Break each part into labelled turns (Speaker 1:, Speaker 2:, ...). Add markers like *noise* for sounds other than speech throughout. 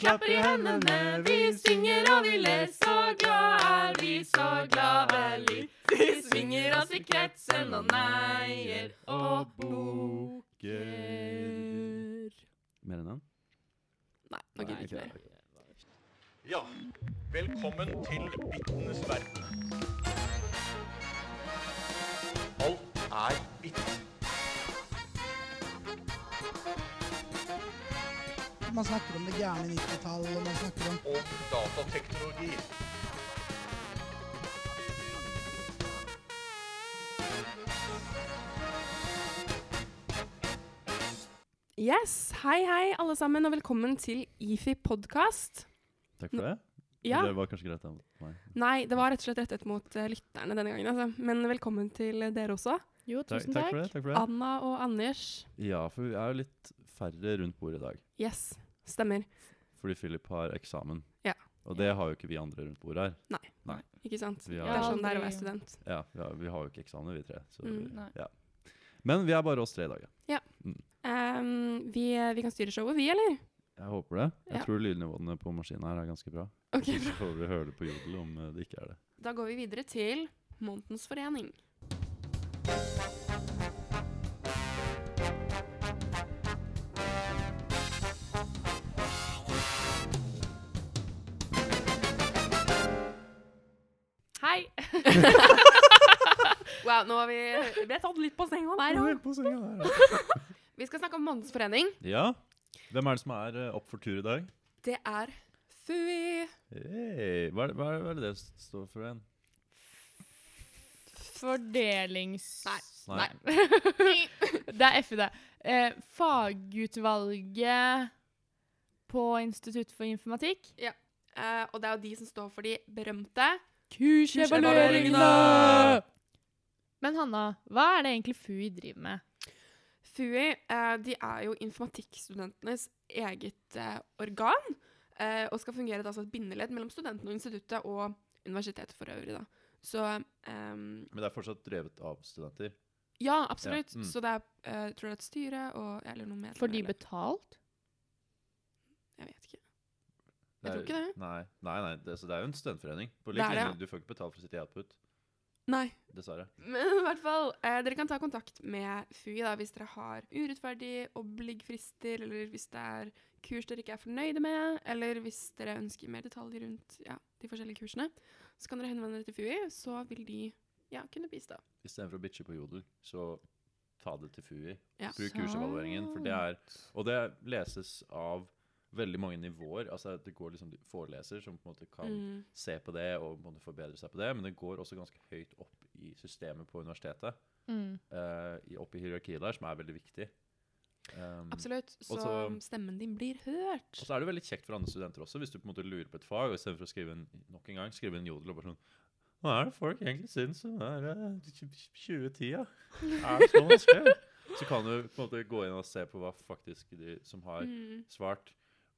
Speaker 1: klapper i hendene, vi synger og vi ler. Så glad er vi, så glad er vi. Vi svinger oss i kretsen og neier og bukker.
Speaker 2: Mer enn den?
Speaker 1: Nei, nå gidder jeg ikke mer.
Speaker 3: Ja, velkommen til bittenes verden. Alt er bitt.
Speaker 4: Man snakker om det gærne 90-tallet, og man snakker om
Speaker 3: og datateknologi.
Speaker 1: Yes, hei hei alle sammen, og velkommen til IFI podkast.
Speaker 2: Takk for det.
Speaker 1: Ja,
Speaker 2: Det var kanskje greit av meg.
Speaker 1: nei, det var rett og slett rettet mot eh, lytterne denne gangen, altså. Men velkommen til dere også.
Speaker 5: Jo,
Speaker 2: Takk,
Speaker 5: tusen
Speaker 2: takk
Speaker 5: takk.
Speaker 2: for det. takk for det.
Speaker 1: Anna og Anders.
Speaker 2: Ja, for vi er jo litt færre rundt bordet i dag.
Speaker 1: Yes, stemmer.
Speaker 2: Fordi Philip har eksamen.
Speaker 1: Ja.
Speaker 2: Og det har jo ikke vi andre rundt bordet her.
Speaker 1: Ikke sant?
Speaker 2: Vi har-
Speaker 1: Det er sånn det er å
Speaker 5: Aldri.
Speaker 1: være student.
Speaker 2: Ja, vi har, vi har jo ikke eksamen, vi tre. Så,
Speaker 1: Mm,
Speaker 2: vi-
Speaker 5: nei.
Speaker 2: ja. Men vi er bare oss tre i dag. ja.
Speaker 1: Ehm, vi, vi kan styre showet, vi, eller?
Speaker 2: Jeg håper det. Jeg
Speaker 1: Ja.
Speaker 2: tror lydnivåene på maskinen her er ganske
Speaker 1: *laughs*
Speaker 2: bra.
Speaker 1: Ok,
Speaker 2: Så får vi høre det på jodel om eh, det ikke er det.
Speaker 1: Da går vi videre til Månedens forening. Hei! wow, nå har vi Vi ble tatt litt på senga der òg. Vi skal snakke om Månedens forening.
Speaker 2: *laughs* Ja. Hvem er det som er eh, opp for tur i dag?
Speaker 1: Det er FUI.
Speaker 2: Hey, hva, er det, hva, er det, hva er det det s- står for igjen?
Speaker 5: Fordelings...
Speaker 1: Nei.
Speaker 2: Nei.
Speaker 5: *laughs* Det er F i det. Eh, fagutvalget på Institutt for informatikk.
Speaker 1: Eh, og det er jo de som står for de berømte.
Speaker 2: Kursevalueringene!
Speaker 5: Men Hanna, hva er det egentlig FUI driver med?
Speaker 1: FUI eh, de er jo informatikkstudentenes eget eh, organ, eh, og skal fungere da som et bindeledd mellom studentene og instituttet og universitetet for øvrig. da. Så ehm,
Speaker 2: Men det er fortsatt drevet av studenter.
Speaker 1: ja, absolutt.
Speaker 2: mm.
Speaker 1: Så det er eh, jeg tror det er et styre og eller noe medlemmer.
Speaker 5: Får de
Speaker 1: eller-
Speaker 5: betalt?
Speaker 1: Jeg vet ikke.
Speaker 2: Det
Speaker 1: Jeg tror
Speaker 2: er-
Speaker 1: ikke det.
Speaker 2: Nei, nei, nei det, så det er jo en studentforening. På
Speaker 1: Det
Speaker 2: lik
Speaker 1: er det,
Speaker 2: linje, Du får ikke betalt for å sitte i Output,
Speaker 1: Nei.
Speaker 2: dessverre.
Speaker 1: Men i hvert fall, eh, dere kan ta kontakt med FUI da, hvis dere har urettferdig oblig-frister, eller hvis det er kurs dere ikke er fornøyde med, eller hvis dere ønsker mer detaljer rundt ja, de forskjellige kursene, så kan dere henvende dere til FUI, så vil de ja, kunne bistå.
Speaker 2: Istedenfor å bitche på Jodel, så ta det til FUI.
Speaker 1: Ja.
Speaker 2: Bruk kursevalueringen, for det er Og det leses av veldig mange nivåer. Altså det går liksom foreleser som på en måte kan
Speaker 1: Mm.
Speaker 2: se på det og på en måte forbedre seg på det, men det går også ganske høyt opp i systemet på universitetet.
Speaker 5: Mm.
Speaker 2: eh, i- opp i hierarkiet der, som er veldig viktig. Um,
Speaker 1: Absolutt. Så
Speaker 2: Også-
Speaker 1: stemmen din blir hørt.
Speaker 2: Og så er det veldig kjekt for andre studenter også, hvis du på en måte lurer på et fag, og istedenfor å skrive en, nok en gang, skrive en jodel og bare sånn Hva er det folk egentlig syns om det her, eh, 2010-a? Er det så vanskelig? Så kan du på en måte gå inn og se på hva faktisk de som har
Speaker 1: Mm.
Speaker 2: svart,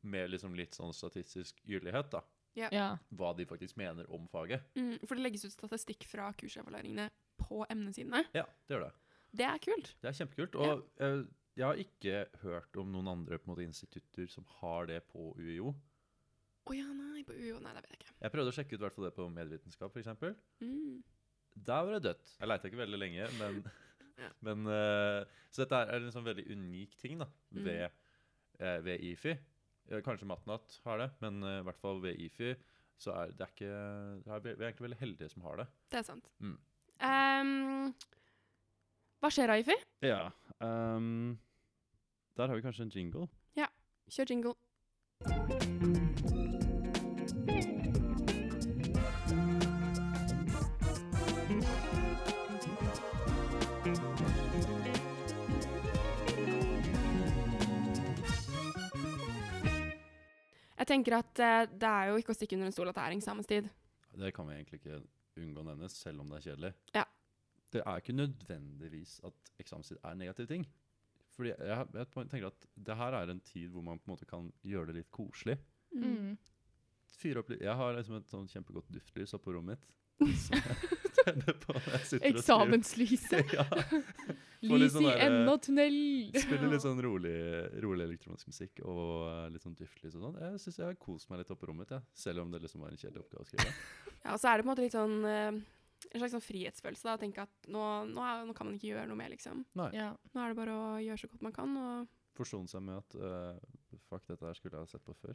Speaker 2: med liksom litt sånn statistisk gyldighet, da.
Speaker 5: Ja.
Speaker 2: Hva de faktisk mener om faget.
Speaker 1: Mm. For det legges ut statistikk fra kursevalueringene på emnesidene.
Speaker 2: Ja, det gjør det.
Speaker 1: Det er kult.
Speaker 2: Det er kjempekult. Og eh, jeg har ikke hørt om noen andre på en måte, institutter som har det på UiO.
Speaker 1: Å ja, nei, på UiO. Nei, det vet jeg ikke.
Speaker 2: Jeg prøvde å sjekke ut hvertfall det på medvitenskap, f.eks.
Speaker 1: Mm.
Speaker 2: Der var det dødt. Jeg leita ikke veldig lenge, *laughs* men,
Speaker 1: Ja.
Speaker 2: men eh, Så dette er en sånn veldig unik ting da,
Speaker 1: Mm.
Speaker 2: ved, eh, ved IFI. Eh, Kanskje Matnat har det, men eh, i hvert fall ved IFI så er det er ikke det er, Vi er egentlig veldig heldige som har det.
Speaker 1: Det er sant.
Speaker 2: Mm.
Speaker 1: Ehm, hva skjer, Aifi?
Speaker 2: Ja. ehm, der har vi kanskje en jingle.
Speaker 1: Kjør jingle. Jeg tenker at eh, Det er jo ikke å stikke under en stol at det er eksamenstid.
Speaker 2: Det kan vi egentlig ikke unngå å nevne, selv om det er kjedelig.
Speaker 1: Ja.
Speaker 2: Det er ikke nødvendigvis at eksamenstid er en negativ ting. Fordi jeg, jeg tenker at det her er en tid hvor man på en måte kan gjøre det litt koselig.
Speaker 5: Mm.
Speaker 2: Fyre opp litt Jeg har liksom et sånn kjempegodt duftlys oppe på rommet mitt. som jeg tenner på når jeg sitter og skrur.
Speaker 5: Eksamenslyset.
Speaker 2: ja. *laughs* Får litt
Speaker 5: Lys
Speaker 2: sånn
Speaker 5: i
Speaker 2: der,
Speaker 5: enden av tunnel.
Speaker 2: Spiller litt sånn rolig, rolig elektronisk musikk og eh, litt sånn duftlys og sånn. Jeg syns jeg har kost meg litt oppe på rommet, ja. selv om det liksom var en kjedelig oppgave å skrive.
Speaker 1: Ja, og så er det på en måte litt sånn eh, en slags sånn frihetsfølelse. da, Å tenke at nå, nå, er, nå kan man ikke gjøre noe mer, liksom.
Speaker 5: Ja.
Speaker 1: Nå er det bare å gjøre så godt man kan. og
Speaker 2: Forsone seg med at eh, fuck, dette her skulle jeg ha sett på før.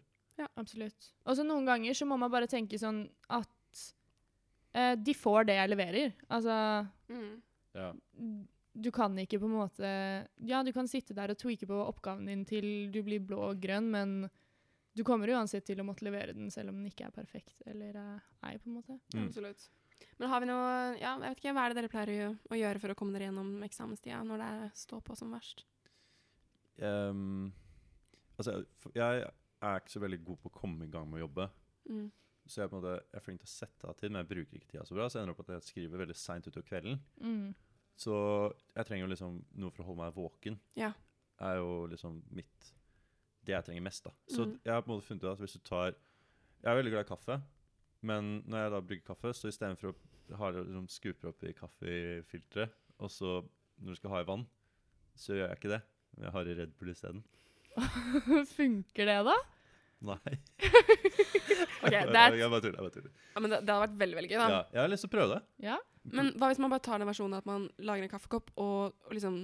Speaker 5: Absolutt. Og så noen ganger så må man bare tenke sånn at eh, de får det jeg leverer. Altså,
Speaker 1: Mm,
Speaker 2: Ja.
Speaker 5: du kan ikke på en måte Ja, du kan sitte der og tweake på oppgaven din til du blir blå og grønn, men du kommer uansett til å måtte levere den selv om den ikke er perfekt eller eh, er, på en måte.
Speaker 2: Mm.
Speaker 1: Absolutt. Men har vi noe ja, jeg vet ikke, Hva er det dere pleier å gjø- å gjøre for å komme dere gjennom eksamenstida når det er stå på som verst?
Speaker 2: Ehm, altså, f- jeg er ikke så veldig god på å komme i gang med å jobbe.
Speaker 1: Mm.
Speaker 2: Så jeg, på en måte, jeg er flink til å sette av tid, men jeg bruker ikke tida så bra. Så jeg ender opp at jeg skriver veldig seint utover kvelden.
Speaker 5: Mm.
Speaker 2: Så jeg trenger jo liksom noe for å holde meg våken.
Speaker 1: Ja.
Speaker 2: er jo liksom mitt Det jeg trenger mest, da. Så
Speaker 1: Mm.
Speaker 2: jeg har på en måte funnet ut at hvis du tar Jeg er veldig glad i kaffe, men når jeg da brygger kaffe, så istedenfor å ha det liksom skuper opp i kaffefilteret, og så når du skal ha i vann, så gjør jeg ikke det. Men Jeg har i Red Bull isteden.
Speaker 5: *laughs* Funker det, *laughs* da?
Speaker 2: *laughs* Nei.
Speaker 1: *laughs* Ok, det
Speaker 2: jeg
Speaker 1: er,
Speaker 2: bare tuller. jeg bare tuller.
Speaker 1: ja, men det, det hadde vært veldig veldig gøy. da.
Speaker 2: Ja, jeg har lyst til å prøve det.
Speaker 5: Ja.
Speaker 1: Men hva hvis man bare tar den versjonen at man lager en kaffekopp og, og liksom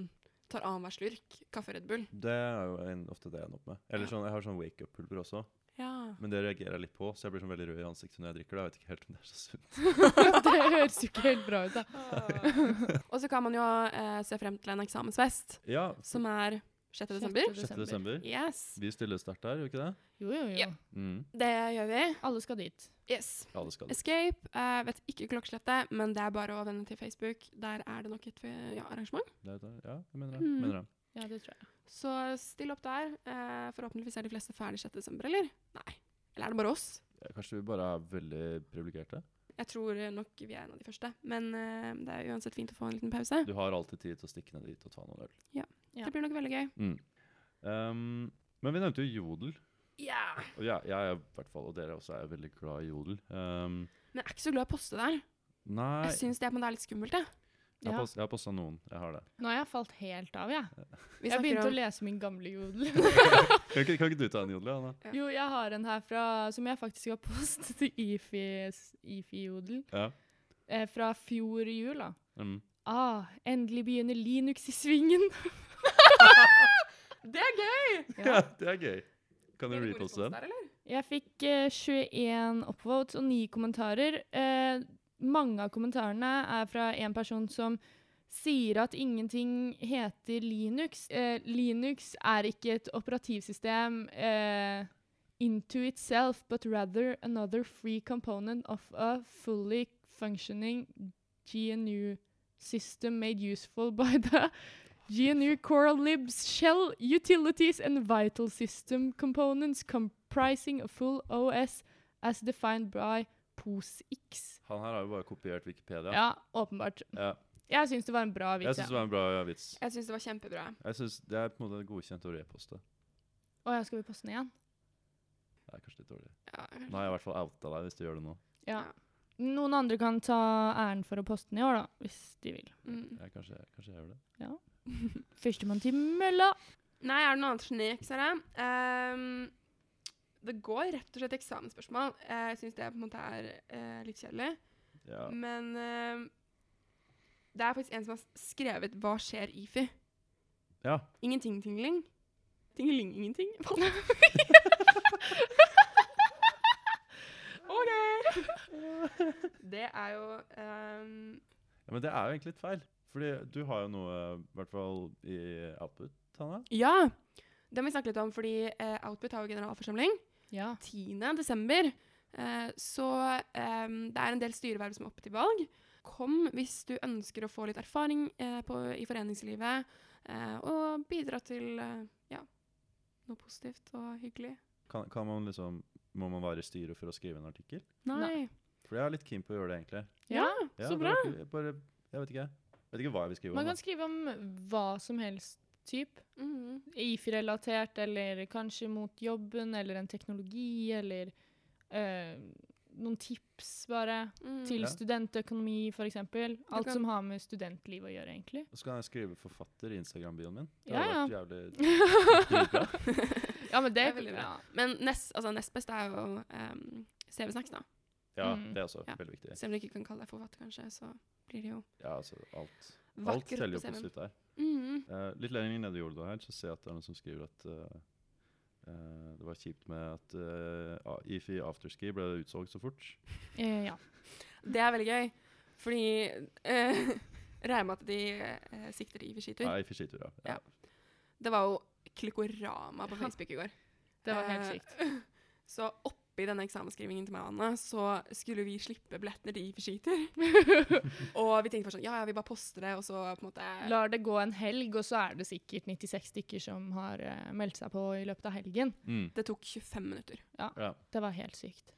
Speaker 1: tar annenhver slurk kaffe Red Bull?
Speaker 2: Det er jo en, ofte det jeg ender opp med. Eller sånn, Jeg har sånn wake-up-pulver også,
Speaker 1: Ja.
Speaker 2: men det reagerer jeg litt på, så jeg blir sånn veldig rød i ansiktet når jeg drikker det. Jeg vet ikke helt om det er så sunt.
Speaker 5: det høres jo ikke helt bra ut, da.
Speaker 1: *laughs* og så kan man jo eh, se frem til en eksamensfest,
Speaker 2: Ja,
Speaker 1: som er 6. desember.
Speaker 2: 6. desember.
Speaker 1: Yes.
Speaker 2: Vi stiller sterkt der, gjør vi ikke det?
Speaker 5: Jo, jo, jo.
Speaker 1: Ja.
Speaker 2: Mm.
Speaker 1: Det gjør vi.
Speaker 5: Alle skal dit.
Speaker 1: Yes.
Speaker 2: Ja, det skal det.
Speaker 1: Escape. eh, vet ikke klokkeslettet, men det er bare å vende til Facebook. Der er det nok et eh, ja, arrangement.
Speaker 2: det, er det. Ja, det mener jeg.
Speaker 1: Mm.
Speaker 2: Mener jeg.
Speaker 5: Ja, det tror jeg.
Speaker 1: Så still opp der. eh, forhåpentligvis er de fleste ferdig 6. desember, eller? Nei. Eller er det bare oss?
Speaker 2: Ja, Kanskje vi bare er veldig privilegerte?
Speaker 1: Jeg tror eh, nok vi er en av de første, men eh, det er uansett fint å få en liten pause.
Speaker 2: Du har alltid tid til å stikke ned dit og ta noen øl.
Speaker 5: Ja.
Speaker 1: Det blir nok veldig gøy.
Speaker 2: Mm. Um, men vi nevnte jo jodel.
Speaker 1: Ja!
Speaker 2: Og jeg, jeg er i hvert fall, og dere også, er veldig glad i jodel. Um,
Speaker 1: Men jeg er ikke så glad i å poste der.
Speaker 2: nei,
Speaker 1: Jeg syns det, men det er litt skummelt, jeg.
Speaker 2: jeg har
Speaker 5: Ja.
Speaker 2: post- jeg har posta noen. Jeg har det.
Speaker 5: Nå har jeg falt helt av, jeg.
Speaker 1: Vi
Speaker 5: Jeg
Speaker 1: snakker
Speaker 5: begynte
Speaker 1: om-
Speaker 5: å lese min gamle jodel.
Speaker 2: Kan ikke, kan ikke du ta en jodel, Anna?
Speaker 1: Ja.
Speaker 5: Jo, jeg har en her fra, som jeg faktisk har postet til IFI-jodel. IFI -jodel,
Speaker 2: Ja.
Speaker 5: eh, fra fjor jul, da.
Speaker 2: Mm.
Speaker 5: Ah, endelig begynner Linux i svingen! *laughs*
Speaker 1: Det er gøy!
Speaker 2: Ja. *laughs* det er gøy. Kan du
Speaker 1: Dere bor i
Speaker 2: reposte den?
Speaker 1: Kongsberg, eller?
Speaker 5: Jeg fikk eh, 21 upvotes og 9 kommentarer. Eh, mange av kommentarene er fra en person som sier at ingenting heter Linux. Eh, Linux er ikke et operativsystem eh, into itself, but rather another free component of a fully functioning GNU system made useful by the GNU Core Libs shell utilities and vital system components comprising a full OS as defined by POSIX.
Speaker 2: Han her har jo bare kopiert Wikipedia.
Speaker 5: Ja, åpenbart.
Speaker 2: Ja.
Speaker 5: Jeg syns det var en bra
Speaker 2: Jeg
Speaker 5: vits.
Speaker 2: syns det
Speaker 5: Ja.
Speaker 2: var en bra vits.
Speaker 1: Jeg syns det var kjempebra.
Speaker 2: Jeg synes Det er på en måte godkjent å reposte.
Speaker 5: Å ja, skal vi poste den igjen?
Speaker 2: Det er kanskje litt dårlig.
Speaker 1: Ja,
Speaker 2: Nå har jeg i hvert fall outa deg hvis du gjør det nå.
Speaker 5: Ja. Noen andre kan ta æren for å poste den i år, da, hvis de vil.
Speaker 1: Mm.
Speaker 2: Jeg, kanskje, kanskje jeg gjør det.
Speaker 5: Førstemann til mølla.
Speaker 1: Nei, er det noe annet snek, Sara? Ehm, det går rett og slett eksamensspørsmål. Eh, Jeg syns det på en måte er eh, litt kjedelig.
Speaker 2: Ja.
Speaker 5: Mm.
Speaker 1: Men ehm, det er faktisk en som har s- skrevet 'Hva skjer, Ifi?'
Speaker 2: ja.
Speaker 1: Ingenting, tingling. Tingeling, ingenting. *laughs*
Speaker 2: *laughs*
Speaker 1: OK! Det er jo ehm,
Speaker 2: Ja, Men det er jo egentlig litt feil. Fordi du har jo noe, i hvert fall i output, Hanna.
Speaker 1: Ja! Det må vi snakke litt om, fordi eh, Outbit har jo generalforsamling.
Speaker 5: Ja.
Speaker 1: 10. desember. Eh, så ehm, det er en del styreverv som er oppe til valg. Kom hvis du ønsker å få litt erfaring eh, på, i foreningslivet, eh, og bidra til eh, ja, noe positivt og hyggelig.
Speaker 2: Kan, kan man liksom, må man være i styret for å skrive en artikkel?
Speaker 1: Nei.
Speaker 2: For jeg er litt keen på å gjøre det, egentlig.
Speaker 1: Ja,
Speaker 2: Ja,
Speaker 1: så
Speaker 2: bare-
Speaker 1: bra!
Speaker 2: Bare, jeg vet ikke. Jeg vet ikke hva jeg vil skrive om.
Speaker 5: Man
Speaker 2: da.
Speaker 5: kan skrive om hva som helst type.
Speaker 1: Mhm.
Speaker 5: IFI-relatert, eller kanskje mot jobben, eller en teknologi, eller eh, noen tips bare
Speaker 1: Mm.
Speaker 5: til
Speaker 2: Ja.
Speaker 5: studentøkonomi, f.eks. Alt
Speaker 1: kan-
Speaker 5: som har med studentliv å gjøre, egentlig.
Speaker 2: Og så kan jeg skrive forfatter i Instagram-bioen min. Det
Speaker 5: Ja,
Speaker 2: hadde
Speaker 5: ja. *laughs*
Speaker 2: vært jævlig dritbra.
Speaker 5: Ja, men det,
Speaker 1: Det er veldig bra.
Speaker 5: ja.
Speaker 1: Men nest, altså, nest best er jo um, CV-snacks, da.
Speaker 2: Ja,
Speaker 5: Mm.
Speaker 2: det er også
Speaker 1: Ja.
Speaker 2: veldig viktig.
Speaker 1: Selv om du ikke kan kalle deg forfatter, kanskje, så blir det jo
Speaker 2: Ja, altså alt. Alt
Speaker 1: vakkert
Speaker 2: teller
Speaker 1: på
Speaker 2: jo
Speaker 1: CV-en.
Speaker 2: positivt der.
Speaker 1: Mm.
Speaker 2: Eh, litt lenger nede i jorda her, så ser jeg at det er noen som skriver at eh, eh, det var kjipt med at eh, A- IFI Afterski ble utsolgt så fort.
Speaker 5: Eh, ja.
Speaker 1: Det er veldig gøy, fordi eh, *laughs* Regner med at de eh, sikter i for skitur.
Speaker 2: Nei, IFI skitur, ja. ja.
Speaker 1: Ja. Det var jo klikkorama på Facebook i går.
Speaker 5: Det var helt
Speaker 1: Eh,
Speaker 5: sykt.
Speaker 1: Så oppi denne eksamensskrivingen til meg og Anne, så skulle vi slippe billettene til IFI skitur.
Speaker 5: *laughs*
Speaker 1: og vi tenkte først sånn, ja, ja, vi bare poster det, og så på en måte
Speaker 5: eh, Lar det gå en helg, og så er det sikkert 96 stykker som har eh, meldt seg på i løpet av helgen.
Speaker 2: Mm.
Speaker 1: Det tok 25 minutter.
Speaker 2: ja.
Speaker 5: Det var helt sykt.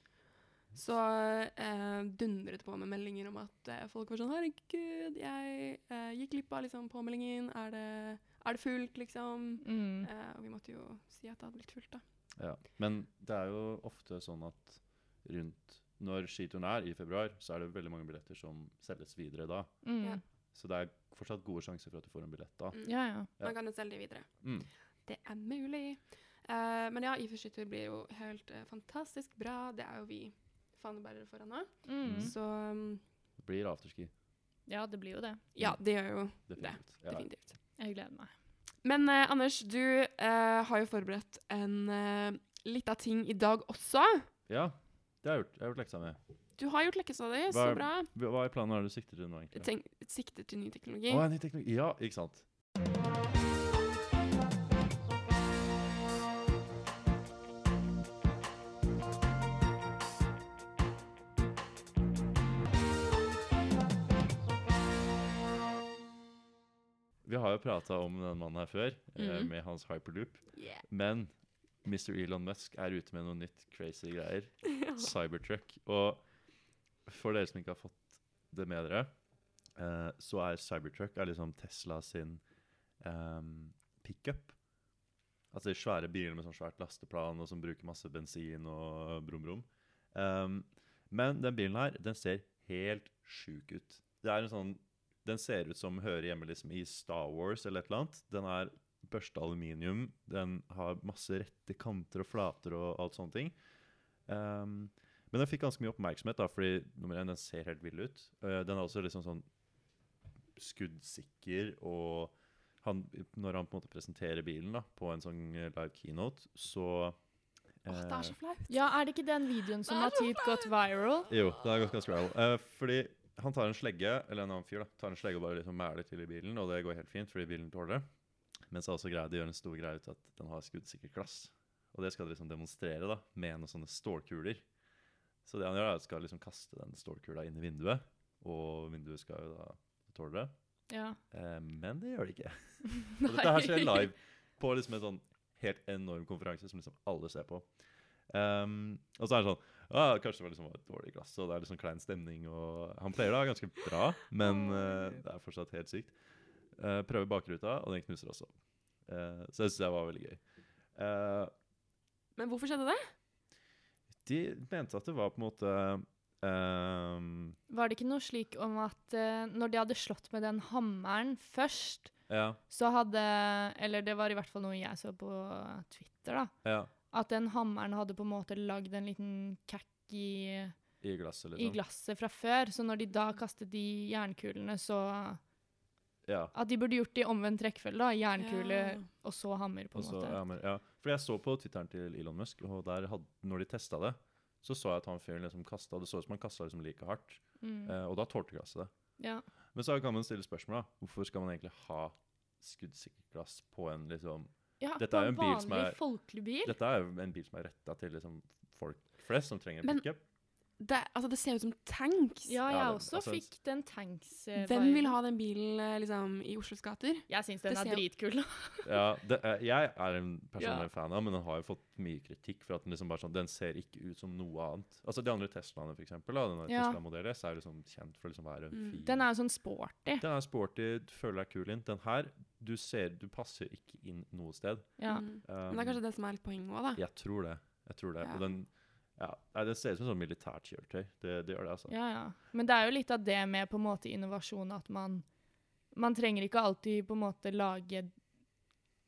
Speaker 1: Så eh, dundret det på med meldinger om at eh, folk var sånn Herregud, jeg eh, gikk glipp av liksom, påmeldingen. Er det, er det fullt, liksom?
Speaker 5: Mm.
Speaker 1: Eh, og vi måtte jo si at det hadde blitt fullt, da.
Speaker 2: Ja. Men det er jo ofte sånn at rundt når skituren er i februar, så er det veldig mange billetter som selges videre da.
Speaker 5: Mm.
Speaker 1: Ja.
Speaker 2: Så det er fortsatt gode sjanser for at du får en billett da.
Speaker 1: Mm.
Speaker 5: Ja, ja.
Speaker 2: Ja.
Speaker 1: Man kan jo selge det videre.
Speaker 2: Mm.
Speaker 1: Det er mulig. Eh, men ja, IFU-skytter blir jo helt eh, fantastisk bra. Det er jo vi fanebærere for henne.
Speaker 5: Mm.
Speaker 1: Så um,
Speaker 2: Det blir afterski.
Speaker 5: ja, det blir jo det.
Speaker 1: ja, det gjør jo
Speaker 2: Definitivt. Ja.
Speaker 1: definitivt.
Speaker 5: Jeg gleder meg.
Speaker 1: Men eh, Anders, du eh, har jo forberedt en uh, lita ting i dag også.
Speaker 2: ja, det har jeg gjort. Jeg har gjort leksa mi.
Speaker 1: Du har gjort leksa di, så
Speaker 2: Hva-
Speaker 1: bra.
Speaker 2: Hva hva er planen hva er det du sikter til nå, egentlig?
Speaker 1: Tenk, sikter til ny teknologi.
Speaker 2: Å, ja, ny teknologi. Ja, ikke sant. Vi har jo prata om den mannen her før, eh,
Speaker 5: Mhm.
Speaker 2: med hans hyperloop.
Speaker 1: Yeah.
Speaker 2: Men Mr. Elon Musk er ute med noe nytt crazy greier. Cybertruck. Og for dere som ikke har fått det med dere, eh, så er Cybertruck er liksom Tesla sin um, pickup. Altså de svære biler med sånn svært lasteplan og som bruker masse bensin og brum-brum. Um, men den bilen her, den ser helt sjuk ut. Det er en sånn, Den ser ut som hører hjemme liksom i Star Wars eller et eller annet. Den er børsta aluminium, den har masse rette kanter og flater og alt sånne ting. Um, men den fikk ganske mye oppmerksomhet, da, fordi nummer én, den ser helt vill ut. Eh, den er også liksom sånn skuddsikker, og han, når han på en måte presenterer bilen da, på en sånn eh, live keynote, så
Speaker 1: Åh, det
Speaker 2: eh,
Speaker 1: er så flaut.
Speaker 5: Ja, er det ikke den videoen som har typ gått viral?
Speaker 2: jo, det har gått ganske bra. Eh, fordi han tar en slegge, eller en annen fyr da, tar en slegge og bare liksom mæler til i bilen, og det går helt fint fordi bilen tåler det. Men så er også greia, de gjør en stor greie ut av at den har skuddsikkert glass. Og det skal de liksom demonstrere da, med noen sånne stålkuler. Så det han gjør er at skal liksom kaste den stålkula inn i vinduet, og vinduet skal jo da tåle det.
Speaker 5: Ja.
Speaker 2: Eh, men det gjør det ikke. Og dette her skjer live på liksom en sånn helt enorm konferanse som liksom alle ser på. Ehm, og så er det sånn ah, Kanskje det var liksom et dårlig glass, og det er liksom klein stemning. Og han pleier da ganske bra, men eh, det er fortsatt helt sykt. Eh, prøver bakruta, og den knuser også. Eh, så jeg syns det var veldig gøy. Eh,
Speaker 1: Men hvorfor skjedde det?
Speaker 2: de mente at det var på en måte ehm,
Speaker 5: Var det ikke noe slik om at eh, når de hadde slått med den hammeren først,
Speaker 2: Ja,
Speaker 5: så hadde Eller det var i hvert fall noe jeg så på Twitter, da.
Speaker 2: ja.
Speaker 5: At den hammeren hadde på en måte lagd en liten kakk i,
Speaker 2: I glasset,
Speaker 5: i
Speaker 2: liksom.
Speaker 5: glasset fra før. Så når de da kastet de jernkulene, så
Speaker 2: Ja.
Speaker 5: At de burde gjort det i omvendt rekkefølge, da. Jernkule
Speaker 1: Ja.
Speaker 5: og så hammer, på en
Speaker 2: Altså,
Speaker 5: måte.
Speaker 2: ja, men, ja. Fordi jeg så på Twitteren til Elon Musk, og der had, når de testa det, så så jeg at han fyren liksom kasta Det så ut som han kasta liksom like hardt.
Speaker 5: Mm.
Speaker 2: Eh, og da tålte glasset det.
Speaker 5: ja.
Speaker 2: Men så kan man stille spørsmål, da. Hvorfor skal man egentlig ha skuddsikkert glass på en liksom
Speaker 5: ja
Speaker 2: Dette
Speaker 5: på
Speaker 2: er jo en bil som
Speaker 5: vanlig
Speaker 2: er-
Speaker 5: folkelig bil.
Speaker 2: Dette er jo en bil som er retta til liksom folk flest som trenger en
Speaker 1: Men-
Speaker 2: pickup.
Speaker 1: Det, altså, det ser ut som tanks.
Speaker 5: Ja, jeg
Speaker 2: Ja, det-
Speaker 5: også
Speaker 2: altså-
Speaker 5: fikk den tanks... eh,
Speaker 1: Hvem
Speaker 5: vibe.
Speaker 1: vil ha den bilen eh, liksom, i Oslos gater?
Speaker 5: Jeg syns
Speaker 1: Det
Speaker 5: den er
Speaker 1: ser jo-
Speaker 5: dritkul.
Speaker 2: Mm. Ja, det, er- jeg er en personlig
Speaker 5: Ja.
Speaker 2: fan av, men den har jo fått mye kritikk for at den liksom bare sånn, den ser ikke ut som noe annet. Altså De andre Teslaene, for eksempel, da, den der
Speaker 5: Ja.
Speaker 2: Tesla Modell S, er jo liksom kjent for å liksom være en
Speaker 1: Mm.
Speaker 2: fin
Speaker 5: Den er jo sånn sporty.
Speaker 2: Den er sporty, du føler deg kul inn. Den her, du ser Du passer ikke inn noe sted.
Speaker 5: Ja.
Speaker 1: Mm.
Speaker 2: Um,
Speaker 1: Men det er kanskje det som er litt poenget òg, da.
Speaker 2: Jeg tror det. Jeg tror det.
Speaker 1: Ja.
Speaker 2: Og den Ja, nei, Det ser ut som sånn militært kjøretøy. Det, det gjør det, altså.
Speaker 5: Ja, ja. Men det er jo litt av det med på en måte innovasjon, at man, man trenger ikke alltid på en måte lage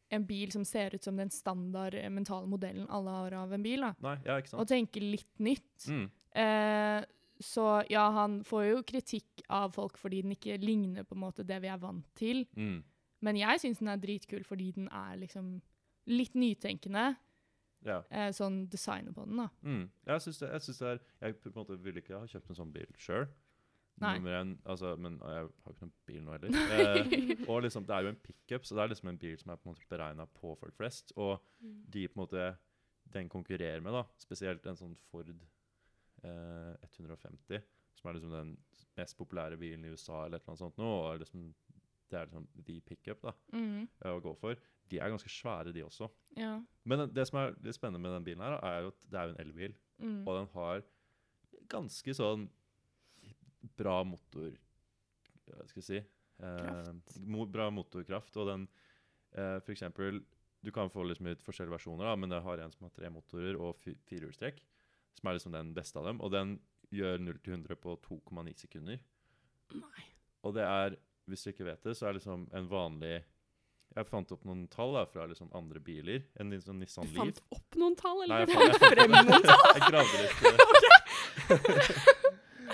Speaker 5: en bil som ser ut som den standard eh, mentale modellen alle har av en bil, da.
Speaker 2: Nei, ja, ikke
Speaker 5: Og
Speaker 2: sant?
Speaker 5: tenke litt nytt.
Speaker 2: Mm.
Speaker 5: Eh, så ja, han får jo kritikk av folk fordi den ikke ligner på en måte det vi er vant til.
Speaker 2: Mm.
Speaker 5: Men jeg syns den er dritkul fordi den er liksom litt nytenkende.
Speaker 2: Ja.
Speaker 5: Eh, sånn designet på den, da.
Speaker 2: Mm. Jeg syns det, jeg synes det er Jeg på en måte ville ikke ha kjøpt en sånn bil sjøl.
Speaker 5: Nei.
Speaker 2: Nummer én, altså, men og jeg har ikke noen bil nå heller. Eh, og liksom, Det er jo en pickup, så det er liksom en bil som er på en måte beregna på folk flest. Og de på en måte den konkurrerer med, da, spesielt en sånn Ford eh, 150, som er liksom den mest populære bilen i USA, eller et eller annet sånt nå, og er liksom, det er liksom the pickup da,
Speaker 5: Mm,
Speaker 2: eh, å gå for. De er ganske svære, de også.
Speaker 5: ja.
Speaker 2: Men den- det som er litt spennende med den bilen, her, da, er jo at det er jo en elbil.
Speaker 5: Mm.
Speaker 2: Og den har ganske sånn bra motor Hva skal jeg si? Eh, mo bra motorkraft. Og den eh, for eksempel Du kan få liksom ut forskjellige versjoner, da, men jeg har en som har tre motorer og fi- firehjulstrekk. Som er liksom den beste av dem. Og den gjør 0 til 100 på 2,9 sekunder.
Speaker 1: Nei.
Speaker 2: Og det er, hvis du ikke vet det, så er liksom en vanlig Jeg fant opp noen tall da, fra liksom andre biler. En litt sånn Nissan
Speaker 1: Du
Speaker 2: Leaf.
Speaker 1: fant opp noen tall,
Speaker 2: Nei, jeg
Speaker 1: eller? *laughs*
Speaker 2: fant- *laughs* jeg
Speaker 1: frem
Speaker 2: fant-
Speaker 1: noen tall?
Speaker 2: Jeg gravde
Speaker 5: *laughs*
Speaker 2: litt. *laughs*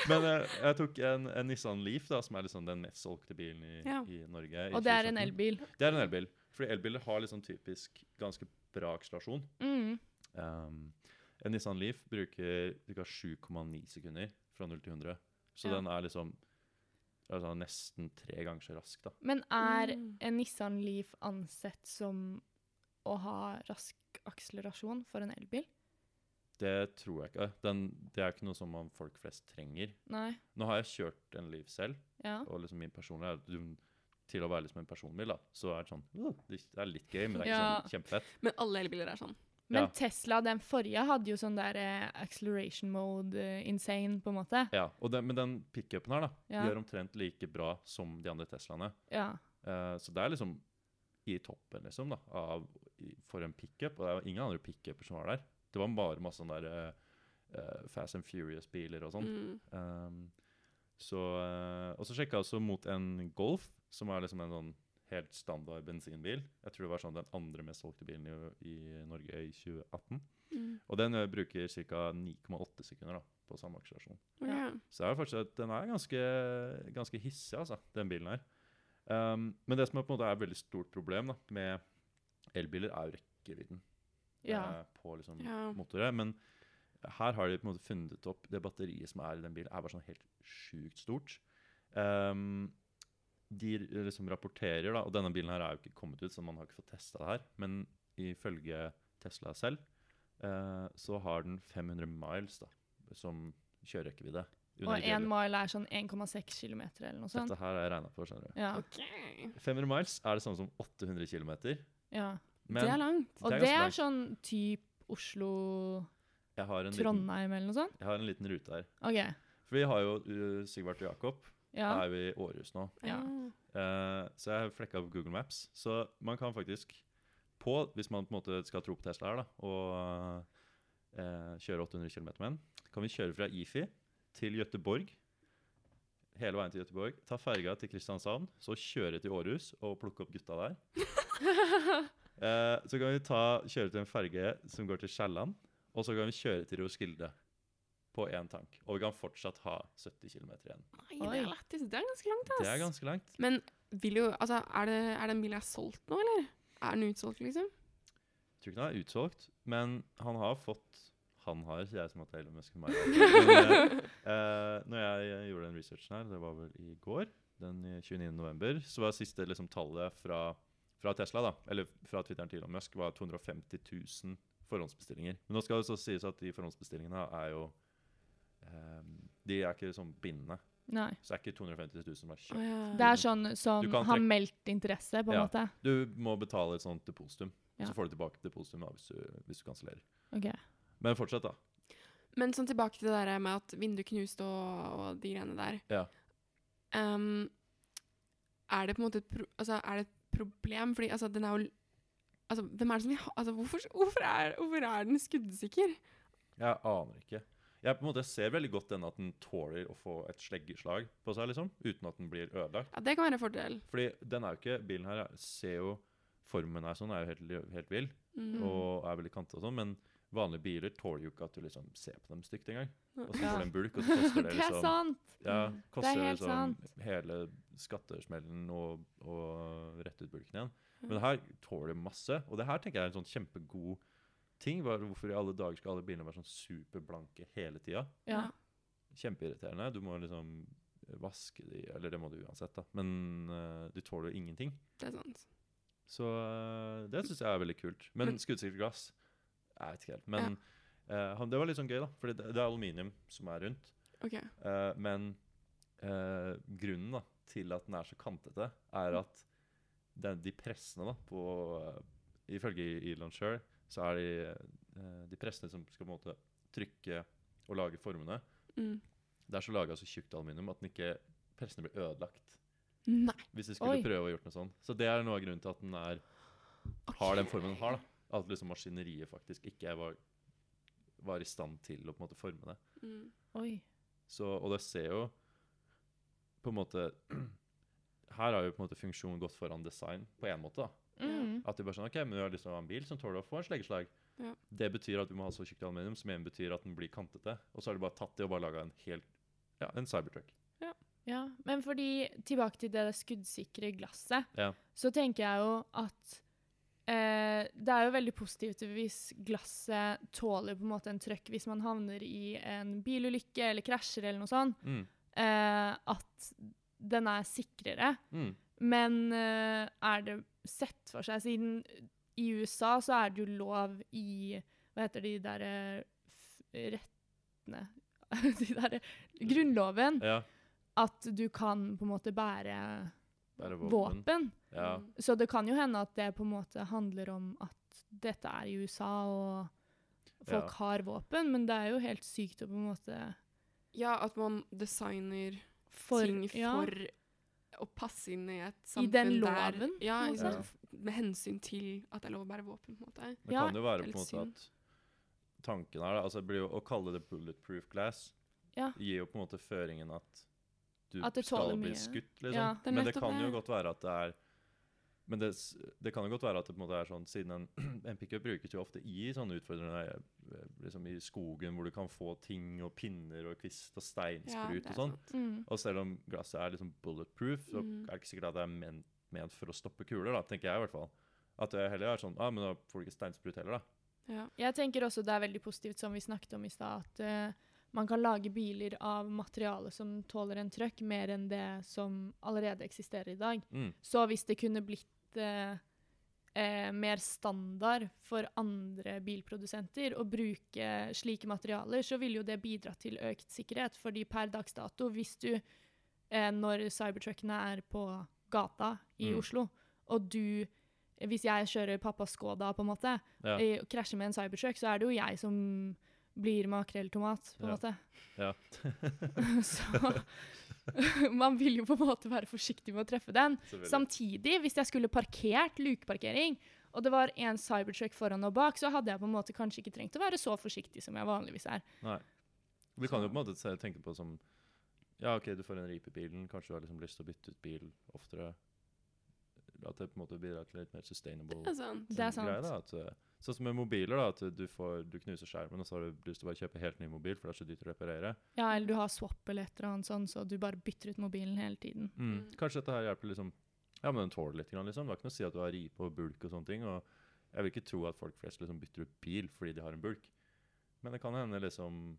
Speaker 2: Men jeg, jeg tok en, en Nissan Leaf, da, som er liksom den mest solgte bilen i,
Speaker 1: Ja.
Speaker 2: i Norge. i
Speaker 5: Og det er en
Speaker 2: 2017.
Speaker 5: elbil.
Speaker 2: Det er en elbil. Fordi elbiler har liksom typisk ganske bra akselerasjon.
Speaker 5: Mm.
Speaker 2: Um, en Nissan Leaf bruker ca. 7,9 sekunder fra 0 til 100. Så
Speaker 5: Ja.
Speaker 2: den er liksom altså nesten tre ganger så rask, da.
Speaker 5: Men er
Speaker 1: Mm.
Speaker 5: en Nissan Leaf ansett som å ha rask akselerasjon for en elbil?
Speaker 2: Det tror jeg ikke. Den, det er ikke noe som man- folk flest trenger.
Speaker 5: Nei.
Speaker 2: Nå har jeg kjørt en Leaf selv.
Speaker 5: Ja.
Speaker 2: og liksom min personlighet er at du- til å være liksom en personbil, da, så er det sånn «Åh, Det er litt gøy, men det er ikke
Speaker 5: Ja.
Speaker 2: sånn kjempefett.
Speaker 1: Men alle elbiler er sånn.
Speaker 5: Men
Speaker 2: Ja.
Speaker 5: Tesla, den forrige, hadde jo sånn der eh, acceleration mode, eh, insane, på en måte.
Speaker 2: Ja, og den, Men den pickupen her da,
Speaker 5: Ja.
Speaker 2: gjør omtrent like bra som de andre Teslaene.
Speaker 5: Ja.
Speaker 2: Eh, så det er liksom i toppen, liksom, da, av, i, for en pickup. Og det er jo ingen andre pickuper som var der. Det var bare masse sånne der eh, eh, Fast and Furious-biler og sånn.
Speaker 1: Mm.
Speaker 2: Um, så, eh, og så sjekka jeg også mot en Golf, som er liksom en sånn helt standard bensinbil. Jeg tror det var sånn den andre mest solgte bilen i, i Norge i 2018.
Speaker 1: Mm.
Speaker 2: Og den eh, bruker ca. 9,8 sekunder da, på samme akselerasjon.
Speaker 1: Ok.
Speaker 5: Ja.
Speaker 2: Så det er jo fortsatt, den er ganske, ganske hissig, altså, den bilen her. Um, men det som er på en måte er et veldig stort problem da, med elbiler, er jo rekkevidden
Speaker 5: ja.
Speaker 2: eh, på liksom
Speaker 1: Ja.
Speaker 2: motorer. Men her har de på en måte funnet opp det batteriet som er i den bilen, er bare sånn helt sjukt stort. Ehm, de r- liksom rapporterer, da, og denne bilen her er jo ikke kommet ut, så man har ikke fått testa det her, men ifølge Tesla selv eh, så har den 500 miles da, som kjørerekkevidde.
Speaker 5: Og sånn. én
Speaker 2: Uneigelig.
Speaker 5: mile er sånn 1,6 km eller noe sånt.
Speaker 2: Dette her har jeg regna på. skjønner du.
Speaker 5: Ja.
Speaker 1: Ok.
Speaker 2: 500 miles er det samme som 800 km.
Speaker 5: ja.
Speaker 1: Det er langt.
Speaker 5: Og
Speaker 2: Det er
Speaker 5: det
Speaker 2: ganske
Speaker 5: er sånn typ Oslo-Trondheim
Speaker 2: jeg har, en liten,
Speaker 5: eller noe sånt?
Speaker 2: jeg har en liten rute her.
Speaker 5: OK.
Speaker 2: For vi har jo uh, Sigvart og Jakob.
Speaker 5: Ja.
Speaker 2: er vi i Århus nå.
Speaker 5: Ja.
Speaker 1: Ah.
Speaker 2: Eh, så jeg har flekka opp Google Maps. Så man kan faktisk på, hvis man på en måte skal tro på Tesla her, da, og eh, kjøre 800 km med den, kan vi kjøre fra Ifi til Gøteborg. Hele veien til Gøteborg. Ta ferga til Kristiansand, så kjøre til Århus og plukke opp gutta der. Eh, så kan vi ta, kjøre til en ferge som går til Kielland, og så kan vi kjøre til Roskilde på én tank. Og vi kan fortsatt ha 70 km igjen.
Speaker 1: Nei, det er
Speaker 5: Oi.
Speaker 1: lættis. Det er ganske langt, ass.
Speaker 2: Det er ganske langt.
Speaker 1: Men vil jo, altså, er, det, er den bilen her solgt nå, eller? Er den utsolgt, liksom?
Speaker 2: Jeg tror ikke den er utsolgt, men han har fått Han har, sier jeg som at jeg elsker meg. Men, eh, eh, når jeg eh, gjorde den researchen her, det var vel i går, den i 29. november, så var siste liksom, tallet fra, fra Tesla, da, eller fra Twitteren til Elon Musk, var 250 000 forhåndsbestillinger. Men nå skal det så sies at de forhåndsbestillingene er jo eh, De er ikke sånn bindende.
Speaker 5: Nei.
Speaker 2: Så det er ikke 250 000 som er
Speaker 1: Å,
Speaker 2: kjøpt.
Speaker 1: ja.
Speaker 5: Det er sånn som
Speaker 2: Du kan
Speaker 5: har
Speaker 2: trekke-
Speaker 5: meldt interesse, på en
Speaker 2: Ja.
Speaker 5: måte.
Speaker 2: Du må betale et sånt depositum,
Speaker 5: Ja.
Speaker 2: så får du tilbake depositumet da, hvis du, hvis du kansellerer.
Speaker 5: OK.
Speaker 2: Men fortsett, da.
Speaker 1: Men sånn tilbake til det der med at vinduet knuste og, og de greiene der.
Speaker 2: Ja.
Speaker 1: Ehm, er det på en måte et, pro altså, er det et problem? Fordi altså, den er jo l- altså, hvem er det som vil ha altså, hvorfor, hvorfor, er, hvorfor er den skuddsikker?
Speaker 2: Jeg aner ikke. Jeg på en måte ser veldig godt den at den tåler å få et sleggeslag på seg, liksom, uten at den blir ødelagt.
Speaker 1: Ja, det kan være en fordel.
Speaker 2: Fordi den er jo ikke, bilen her er- ser jo, formen her sånn er jo helt, helt vill,
Speaker 1: Mm.
Speaker 2: og er veldig kantet og sånn, men vanlige biler tåler jo ikke at du liksom ser på dem stygt engang. Og så
Speaker 5: Ja.
Speaker 2: får du en bulk, og så
Speaker 5: *laughs*
Speaker 2: koster det
Speaker 5: Det er
Speaker 2: liksom,
Speaker 5: sant!
Speaker 2: ja, koster det
Speaker 5: helt
Speaker 2: liksom hele skattesmellen og, og rett ut bulken igjen. Men det her tåler masse, og det her tenker jeg er en sånn kjempegod ting, bare hvorfor i alle dager skal alle bilene være sånn superblanke hele tiden?
Speaker 5: Ja.
Speaker 2: kjempeirriterende. Du må liksom vaske de, eller det må du uansett, da. Men eh, de tåler jo ingenting.
Speaker 1: Det er sant.
Speaker 2: Så eh, det syns jeg er veldig kult. Men
Speaker 1: Men-
Speaker 2: skuddsikkert glass Jeg vet ikke helt. Men eh, han- det var litt sånn gøy, da. For det, det er aluminium som er rundt.
Speaker 1: OK.
Speaker 2: Eh, men eh, grunnen da, til at den er så kantete, er at den, de pressene da, på eh, Ifølge Elon Sher, så er de, eh, de pressene som skal på en måte trykke og lage formene,
Speaker 1: Mm.
Speaker 2: det er så laga så tjukt aluminium at den ikke pressene blir ødelagt.
Speaker 1: Nei.
Speaker 2: Hvis de skulle
Speaker 5: Oi.
Speaker 2: prøve å gjort noe sånn. Så det er noe av grunnen til at den er, har den formen den har. da. At liksom maskineriet faktisk ikke var, var i stand til å på en måte forme det.
Speaker 1: Mm.
Speaker 5: Oi.
Speaker 2: Så, og det ser jo på en måte *clears throat* Her har jo på en måte funksjon gått foran design på én måte. da.
Speaker 5: Mm.
Speaker 2: At du bare sånn, ok, men du har lyst til å ha en bil som tåler å få en sleggeslag.
Speaker 1: Ja.
Speaker 2: Det betyr at du må ha så tjukt aluminium, som igjen betyr at den blir kantete. Og så har de bare tatt det og bare laga en helt, ja, en cybertruck.
Speaker 5: Ja, men fordi tilbake til det skuddsikre glasset,
Speaker 2: Ja.
Speaker 5: så tenker jeg jo at eh, det er jo veldig positivt hvis glasset tåler på en måte en trøkk hvis man havner i en bilulykke eller krasjer eller noe sånt,
Speaker 2: Mm.
Speaker 5: eh, at den er sikrere.
Speaker 2: Mm.
Speaker 5: Men eh, er det sett for seg, siden i USA så er det jo lov i, hva heter de der eh, f- rettene, *laughs* de der eh, grunnloven,
Speaker 2: Ja.
Speaker 5: at du kan på en måte bære
Speaker 2: Bære
Speaker 5: våpen.
Speaker 2: våpen. Ja.
Speaker 1: Mm.
Speaker 5: Så det kan jo hende at det på en måte handler om at dette er i USA, og folk
Speaker 2: Ja.
Speaker 5: har våpen, men det er jo helt sykt å på en måte
Speaker 1: Ja, at man designer
Speaker 5: for,
Speaker 1: ting for
Speaker 5: ja,
Speaker 1: å passe inn i et
Speaker 5: I
Speaker 1: samfunn
Speaker 5: den
Speaker 1: der
Speaker 5: loven,
Speaker 1: Ja,
Speaker 5: på en
Speaker 1: ikke
Speaker 2: måte.
Speaker 1: sant? med hensyn til at det er lov å bære våpen, på en måte.
Speaker 2: Det
Speaker 5: Ja,
Speaker 2: kan jo være på
Speaker 1: det
Speaker 2: en
Speaker 1: er litt
Speaker 2: måte at tanken her, da, altså det blir jo, Å kalle det bulletproof glass
Speaker 5: Ja.
Speaker 2: gir jo på en måte føringen at du
Speaker 5: At det
Speaker 2: skal
Speaker 5: tåler
Speaker 2: bli
Speaker 5: mye.
Speaker 2: skutt. liksom.
Speaker 5: Ja.
Speaker 1: Det er
Speaker 2: men det
Speaker 1: nettopp
Speaker 2: kan jo
Speaker 1: det.
Speaker 2: godt være at det er men det, s- det kan jo godt være at det på en måte er sånn, siden en, en *clears throat* pickup brukes jo ofte i sånne utfordrende eh, liksom i skogen, hvor du kan få ting og pinner og kvist og
Speaker 1: Ja,
Speaker 2: steinsprut
Speaker 1: det er
Speaker 2: og sånn.
Speaker 1: sant.
Speaker 5: mm,
Speaker 2: Og selv om glasset er liksom bulletproof, så
Speaker 1: Mm.
Speaker 2: er det ikke sikkert at det er ment, ment for å stoppe kuler, da, tenker jeg i hvert fall. At det heller er sånn ah, men da får du ikke steinsprut heller, da.
Speaker 1: Ja.
Speaker 5: Jeg tenker også det er veldig positivt, som vi snakket om i stad, at eh, man kan lage biler av materiale som tåler en trøkk, mer enn det som allerede eksisterer i dag.
Speaker 2: Mm.
Speaker 5: Så hvis det kunne blitt eh, eh, mer standard for andre bilprodusenter å bruke slike materialer, så ville jo det bidra til økt sikkerhet. Fordi per dags dato, hvis du, eh, når cybertruckene er på gata i
Speaker 2: Mm.
Speaker 5: Oslo, og du hvis jeg kjører pappas Skoda på en måte,
Speaker 2: Ja.
Speaker 5: eh, og krasjer med en cybertruck, så er det jo jeg som blir makrelltomat, på en
Speaker 2: Ja.
Speaker 5: måte.
Speaker 2: Ja.
Speaker 5: *laughs* så *laughs* man vil jo på en måte være forsiktig med å treffe den.
Speaker 2: Selvfølgelig.
Speaker 5: Samtidig, hvis jeg skulle parkert lukeparkering, og det var en cybertruck foran og bak, så hadde jeg på en måte kanskje ikke trengt å være så forsiktig som jeg vanligvis er.
Speaker 2: Nei. Vi kan jo på en måte se- tenke på som Ja, OK, du får en ripe i bilen, kanskje du har liksom lyst til å bytte ut bil oftere. At det på en måte bidrar til litt mer sustainable
Speaker 1: Det er sant.
Speaker 5: Det er
Speaker 2: sånn greie,
Speaker 5: sant.
Speaker 2: da, at, eh, Sånn som med mobiler, da, at du, får, du knuser skjermen, og så har du lyst til å bare kjøpe helt ny mobil, for det er så dyrt å reparere.
Speaker 5: Ja, eller du har swap eller et eller annet sånn, så du bare bytter ut mobilen hele tiden.
Speaker 2: Mm.
Speaker 1: Mm.
Speaker 2: Kanskje dette her hjelper liksom Ja, men den tåler litt, grann, liksom. Det er ikke noe å si at du har ripe og bulk og sånne ting. Og jeg vil ikke tro at folk flest liksom bytter ut bil fordi de har en bulk. Men det kan hende, liksom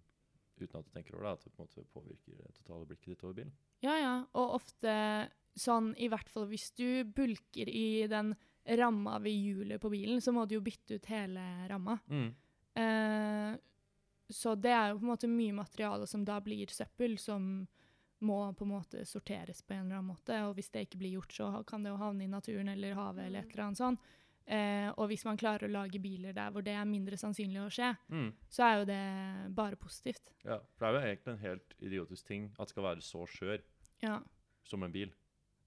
Speaker 2: uten at du tenker over det, at det på en måte påvirker det totale blikket ditt over bilen.
Speaker 5: Ja, ja, og ofte sånn, i hvert fall hvis du bulker i den ramma ved hjulet på bilen, så må du jo bytte ut hele ramma.
Speaker 2: Mm.
Speaker 5: Eh, så det er jo på en måte mye materiale som da blir søppel, som må på en måte sorteres på en eller annen måte. Og hvis det ikke blir gjort, så ha- kan det jo havne i naturen eller havet eller et eller annet sånn. Eh, og hvis man klarer å lage biler der hvor det er mindre sannsynlig å skje, så er jo det bare positivt.
Speaker 2: Mm. Ja, for det er jo egentlig en helt idiotisk ting at det skal være så skjør
Speaker 5: Ja.
Speaker 2: som en bil.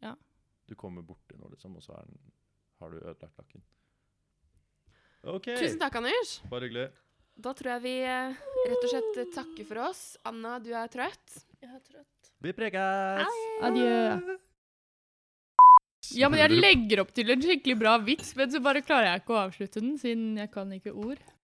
Speaker 5: Ja.
Speaker 2: Du kommer borti noe, liksom, og så er den, har du ødelagt lakken. OK.
Speaker 1: Tusen takk, Anders.
Speaker 2: Bare hyggelig.
Speaker 1: Da tror jeg vi eh, rett og slett takker for oss. Anna, du er trøtt.
Speaker 6: Jeg er trøtt.
Speaker 2: Vi prekes!
Speaker 5: Adjø.
Speaker 2: Hører du-
Speaker 5: legger opp til en skikkelig bra vits, men så bare klarer jeg ikke å avslutte den, siden jeg kan ikke ord.